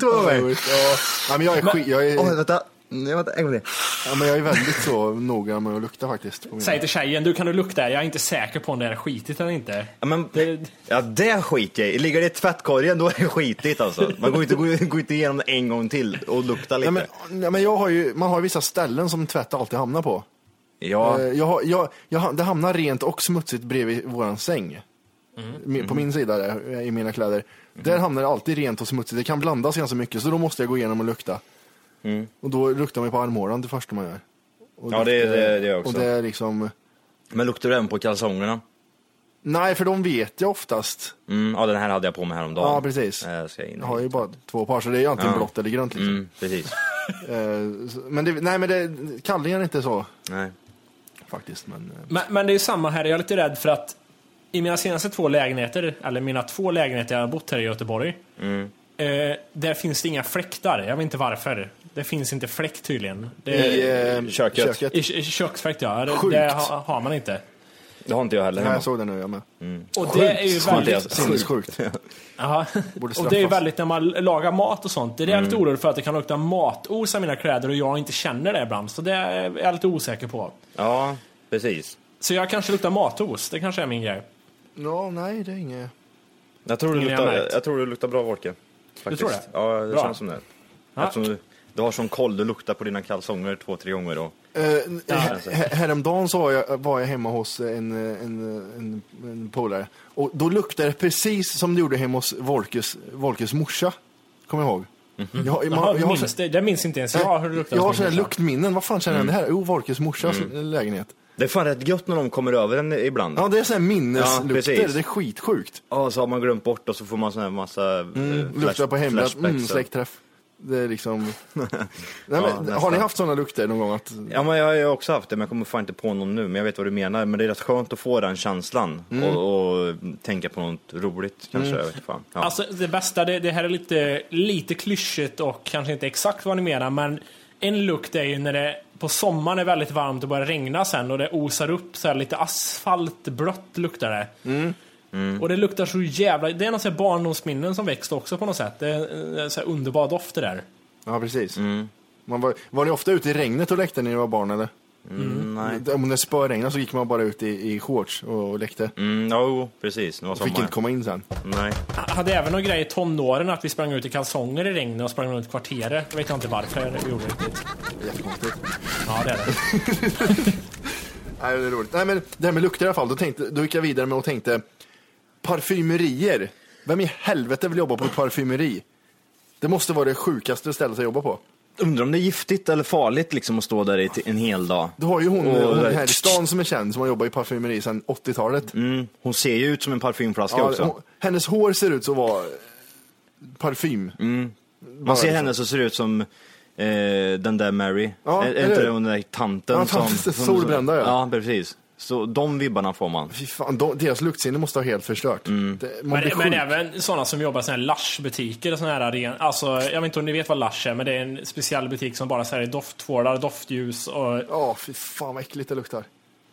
Speaker 2: Ja, ja, men jag, är skit, jag, är,
Speaker 4: Åh, vänta. Nej, vänta, en gång till.
Speaker 2: ja, men jag är väldigt så noga med att lukta faktiskt. På mina.
Speaker 5: Säg till tjejen, du kan du lukta, jag är inte säker på om det är skitigt eller inte.
Speaker 4: Ja, men,
Speaker 5: Det-
Speaker 4: ja, det skiter jag i. Ligger det i tvättkorgen då är det skitigt alltså. Man går inte, går, går inte igenom det en gång till och luktar lite.
Speaker 2: Nej, men, nej, men jag har ju, man har ju vissa ställen som tvätt alltid hamnar på.
Speaker 4: ja,
Speaker 2: Eh, Jag, har- jag, jag, har- det hamnar rent och smutsigt bredvid våran säng.
Speaker 4: Mm.
Speaker 2: Mi- På min sida där, eh, i mina kläder. Där hamnar det alltid rent och smutsigt. Det kan blandas ganska mycket så då måste jag gå igenom och lukta. Och då luktar man ju på armhålan det första man gör. Och
Speaker 4: Mm. Ja, det-
Speaker 2: luktar-
Speaker 4: det- det gör jag också.
Speaker 2: Och det är liksom,
Speaker 4: men luktar du även på kalsongerna?
Speaker 2: nej för de vet jag oftast.
Speaker 4: Mm, ja, den här hade jag på mig häromdagen.
Speaker 2: Ja, precis.
Speaker 4: Eh, ska jag in
Speaker 2: Jag har ju bara två par så det är ju antingen
Speaker 4: Ja.
Speaker 2: blått eller grönt. Liksom.
Speaker 4: Mm, precis.
Speaker 2: Eh, så- Men det, nej men det, kallingar är inte så
Speaker 4: Nej.
Speaker 2: faktiskt. Men, eh,
Speaker 5: Men, men det är ju samma här, jag är lite rädd för att i mina senaste två lägenheter, eller mina två lägenheter jag har bott här i Göteborg,
Speaker 2: Mm.
Speaker 5: eh, där finns det inga fläktar. Jag vet inte varför. Det finns inte fläkt tydligen. Det,
Speaker 2: I eh,
Speaker 4: köket.
Speaker 5: i, kö- i köksfläkt ja, det,
Speaker 2: Sjukt.
Speaker 5: det har, har man inte.
Speaker 4: Det har inte jag heller
Speaker 2: Nej,
Speaker 4: hemma.
Speaker 2: jag såg det nu jag med.
Speaker 5: Och det är ju
Speaker 4: Sjukt.
Speaker 5: väldigt...
Speaker 4: Sjukt.
Speaker 2: Sinnessjukt.
Speaker 5: Jaha.
Speaker 2: Borde
Speaker 5: Och det är ju
Speaker 2: straffas. Mm.
Speaker 5: väldigt när man lagar mat och sånt. Det är jag lite orolig för att det kan lukta matos av mina kläder och jag inte känner det ibland. Så det är jag lite osäker på.
Speaker 4: Ja, precis.
Speaker 5: Så jag kanske luktar matos, det kanske är min grej.
Speaker 2: Ja, nej det är inget.
Speaker 4: Jag tror, du
Speaker 5: Ingen
Speaker 4: luktar,
Speaker 5: jag märkt.
Speaker 4: jag, tror du luktar bra Wolke. Faktiskt.
Speaker 5: tror det?
Speaker 4: Ja, det
Speaker 5: Bra.
Speaker 4: känns som det.
Speaker 5: Ja.
Speaker 4: Eftersom du, du har sån koll, du luktar på dina kalsonger två, tre gånger. Och,
Speaker 2: Eh, hä- hä- Häromdagen så var jag, var jag hemma hos en, eh, en, en, en polare och då luktade det precis som det gjorde hemma hos Volkes, Volkes morsa. Kommer jag ihåg. Jag, man-
Speaker 5: Jaha,
Speaker 2: jag har,
Speaker 5: minns, det, det minns inte ens jag hur det luktar.
Speaker 2: jag har
Speaker 5: som
Speaker 2: sådana här
Speaker 5: morsa.
Speaker 2: luktminnen, vad fan känner jag igen det här? Jo, Volkes morsas lägenhet.
Speaker 4: det är fan rätt gött när de kommer över en ibland.
Speaker 2: Ja, det är sådana här
Speaker 4: Ja,
Speaker 2: minneslukter,
Speaker 4: precis.
Speaker 2: det är skitsjukt.
Speaker 4: Ja, så har man glömt bort och så får man sån här massa eh,
Speaker 2: Mm, luktar på hemmet,
Speaker 4: flashbacks
Speaker 2: mm,
Speaker 4: och-
Speaker 2: släktträff. Det är liksom... Nej, men, har
Speaker 4: nästan.
Speaker 2: ni haft sådana lukter någon gång? Att,
Speaker 4: Ja, men jag har ju också haft det, men jag kommer fan inte på någon nu. Men jag vet vad du menar. Men det är rätt skönt att få den känslan
Speaker 2: Mm.
Speaker 4: och, och tänka på något roligt kanske. Jag vet fan. Ja.
Speaker 5: Alltså det bästa, det, det här är lite, lite klyschigt och kanske inte exakt vad ni menar, men en lukt är ju när det på sommaren är väldigt varmt och börjar regna sen och det osar upp så här lite asfaltblött luktar det. Och det luktar så jävla... Det är någon sån här barndomsminnen som växt också på något sätt. Det är en sån här underbar doft det där.
Speaker 2: ja, precis. Man var, var ni ofta ute i regnet och läckte när ni var barn eller?
Speaker 4: Mm, nej.
Speaker 2: Om det spöregnade så gick man bara ut i, i shorts och, och läckte.
Speaker 4: Mm, jo, precis. Det var
Speaker 2: Fick
Speaker 4: sommar.
Speaker 2: inte komma in sen.
Speaker 4: Nej.
Speaker 5: Jag hade även någon grej i tonåren att vi sprang ut i kalsonger i regnet och sprang runt kvarteret. Jag vet inte varför vi gjorde det riktigt.
Speaker 2: Jättekonstigt.
Speaker 5: Ja, det är det.
Speaker 2: Nej, det är roligt. Nej, men det här med lukter i alla fall. Då, tänkte, då gick jag vidare med och tänkte parfymerier. Vem i helvete vill jobba på ett parfymeri? Det måste vara det sjukaste stället att jobba på.
Speaker 4: Undrar om det är giftigt eller farligt liksom att stå där i t- en hel dag.
Speaker 2: Du har ju hon,
Speaker 4: Och-
Speaker 2: hon här i stan som är känd som har jobbat i parfymeri sedan 80-talet.
Speaker 4: Mm, hon ser ju ut som en parfymflaska
Speaker 2: Ja,
Speaker 4: också.
Speaker 2: hon- hennes hår ser ut som att vara parfym.
Speaker 4: Mm. Man
Speaker 2: liksom.
Speaker 4: ser henne så ser det ut som eh, den där Mary.
Speaker 2: Ja,
Speaker 4: är, är
Speaker 2: eller
Speaker 4: inte
Speaker 2: hur?
Speaker 4: det hon där tanten
Speaker 2: Ja,
Speaker 4: som...
Speaker 2: tanten
Speaker 4: som-
Speaker 2: solbrända, ja.
Speaker 4: Ja, precis. Så de vibbarna får man.
Speaker 2: Fy fan, de, deras luktsinne måste ha helt förstört.
Speaker 4: Mm.
Speaker 2: Det, man
Speaker 5: Men,
Speaker 2: blir
Speaker 5: men
Speaker 2: sjuk.
Speaker 5: även sådana som jobbar i såna här Lush-butiker och såna här ren, alltså, Jag vet inte om ni vet vad Lush är, men det är en speciell butik som bara säljer doftvårdar, doftljus och...
Speaker 2: Ja, fy fan vad äckligt det luktar.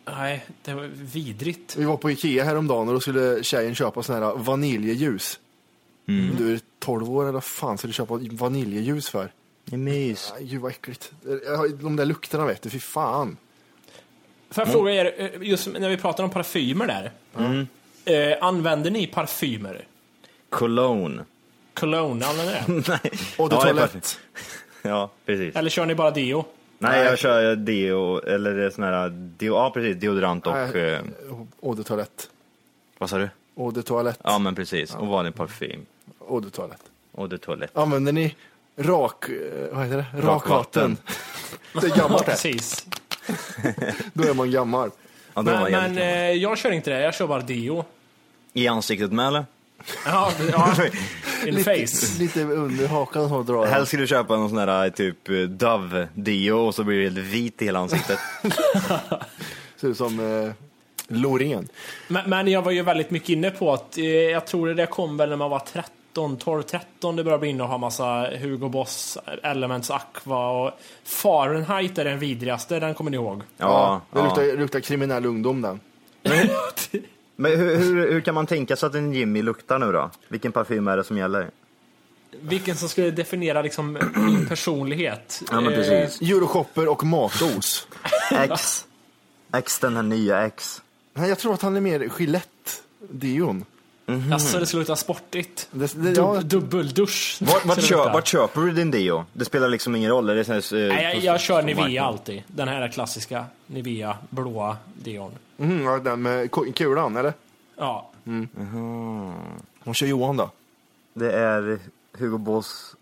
Speaker 5: Nej, det var vidrigt.
Speaker 2: Vi var på Ikea häromdagen och då skulle tjejen köpa såna här vaniljeljus.
Speaker 4: Mm.
Speaker 2: Du är 12 år eller vad fan ska du köpa vaniljeljus för?
Speaker 4: Det är mys.
Speaker 2: Aj, gud vad äckligt. De där lukterna vet du, fy fan.
Speaker 5: Får jag
Speaker 2: Mm.
Speaker 5: fråga er, eh, just när vi pratar om parfymer där. Eh, använder ni parfymer?
Speaker 4: Cologne.
Speaker 5: Cologne, använder ni det?
Speaker 4: Nej.
Speaker 2: Och du
Speaker 4: Ja, det
Speaker 2: tar
Speaker 4: är parfym.
Speaker 2: lätt.
Speaker 4: Ja, precis.
Speaker 5: Eller kör ni bara Dio?
Speaker 4: Nej, jag kör eh, deo, eller det är sån här, eh, deo, ja precis, deodorant och,
Speaker 2: Nej.
Speaker 4: eh,
Speaker 2: Och du tar lätt.
Speaker 4: vad sa du?
Speaker 2: Och du tar lätt.
Speaker 4: Ja men precis, och vanlig parfym.
Speaker 2: Och du tar lätt.
Speaker 4: Och det toalett.
Speaker 2: Använder ni rak... eh, Vad heter det? Rakvatten.
Speaker 4: Rakvatten.
Speaker 2: det är gammalt det.
Speaker 5: Precis.
Speaker 2: Då är man gammal.
Speaker 4: Ja, då var jag
Speaker 5: Men, men
Speaker 4: jävligt gammal.
Speaker 5: eh, jag kör inte det, jag kör bara Dio.
Speaker 4: I ansiktet med eller?
Speaker 5: Ja, ja. In the face.
Speaker 2: lite under hakan så drar jag.
Speaker 4: Helst skulle du köpa någon sån här typ eh, Dove deo och så blir det helt vit i hela ansiktet.
Speaker 2: Ser ut som eh, Loreen.
Speaker 5: Men, men jag var ju väldigt mycket inne på att, eh, jag tror det där kom väl när man var 13, 12, 13, det började bli inne och ha massa Hugo Boss, Elements Aqua och Fahrenheit är den vidrigaste, den kommer ni ihåg?
Speaker 4: Ja,
Speaker 2: Det
Speaker 4: ja.
Speaker 2: luktar, luktar kriminell ungdom den.
Speaker 4: Men hur, hur, hur kan man tänka sig att en Jimmy luktar nu då? Vilken parfym är det som gäller?
Speaker 5: Vilken som skulle definiera liksom min personlighet.
Speaker 4: Ja men
Speaker 5: Eh,
Speaker 4: precis.
Speaker 2: Euroshopper och matos.
Speaker 4: X. X, den här nya X.
Speaker 2: Nej, jag tror att han är mer Gillette-deon.
Speaker 4: Mm-hmm.
Speaker 5: Alltså det skulle lukta sportigt.
Speaker 2: Det- det-
Speaker 5: Dub-
Speaker 2: ja.
Speaker 5: Dubbeldusch.
Speaker 4: Vart, vart,
Speaker 5: skulle
Speaker 4: kö,
Speaker 5: lukta.
Speaker 4: vart köper du din deo? Det spelar liksom ingen roll. Är det sån här, eh,
Speaker 5: Nej, jag,
Speaker 4: på-
Speaker 5: jag kör
Speaker 4: på
Speaker 5: Nivea
Speaker 4: marknaden?
Speaker 5: alltid. Den här klassiska Nivea blåa Dion.
Speaker 2: Mm, ja, den med ko- kulan, eller?
Speaker 5: Ja.
Speaker 2: Hon kör Johan då.
Speaker 4: Det är Hugo Boss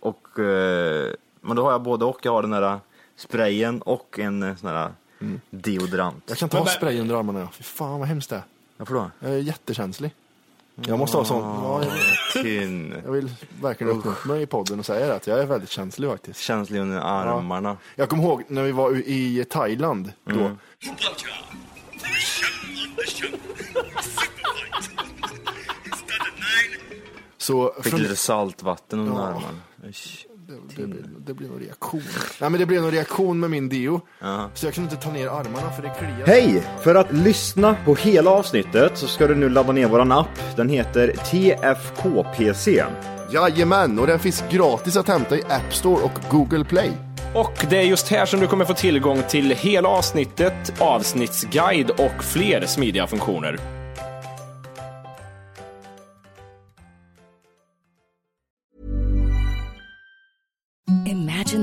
Speaker 4: och... Eh, men då har jag både och. Jag har den där sprayen och en eh, sån här deodorant.
Speaker 2: Jag kan ta
Speaker 5: Men-
Speaker 2: spray under armarna. ja. Fy fan vad hemskt det är.
Speaker 4: Varför då?
Speaker 2: Jag är jättekänslig. Jag måste ha sån.
Speaker 4: Ah.
Speaker 2: Ja, jag,
Speaker 4: Kyn.
Speaker 2: jag vill verkligen uppmuntra mig i podden och säga det, att jag är väldigt känslig faktiskt.
Speaker 4: Känslig under armarna. Mm.
Speaker 2: Jag kommer ihåg när vi var i Thailand då. Så
Speaker 4: Fick
Speaker 2: från-
Speaker 4: lite saltvatten under
Speaker 2: Ja.
Speaker 4: armarna. Usch.
Speaker 2: det, blir, det blir någon reaktion. Nej men det blev någon reaktion med min deo.
Speaker 4: Ja.
Speaker 2: Så jag kunde inte ta ner armarna för det kliar.
Speaker 4: Hej! För att lyssna på hela avsnittet så ska du nu ladda ner våran app. Den heter TFKPC.
Speaker 2: Jajamän, och den finns gratis att hämta i App Store och Google Play.
Speaker 7: Och det är just här som du kommer få tillgång till hela avsnittet, avsnittsguide och fler smidiga funktioner.
Speaker 8: Imagine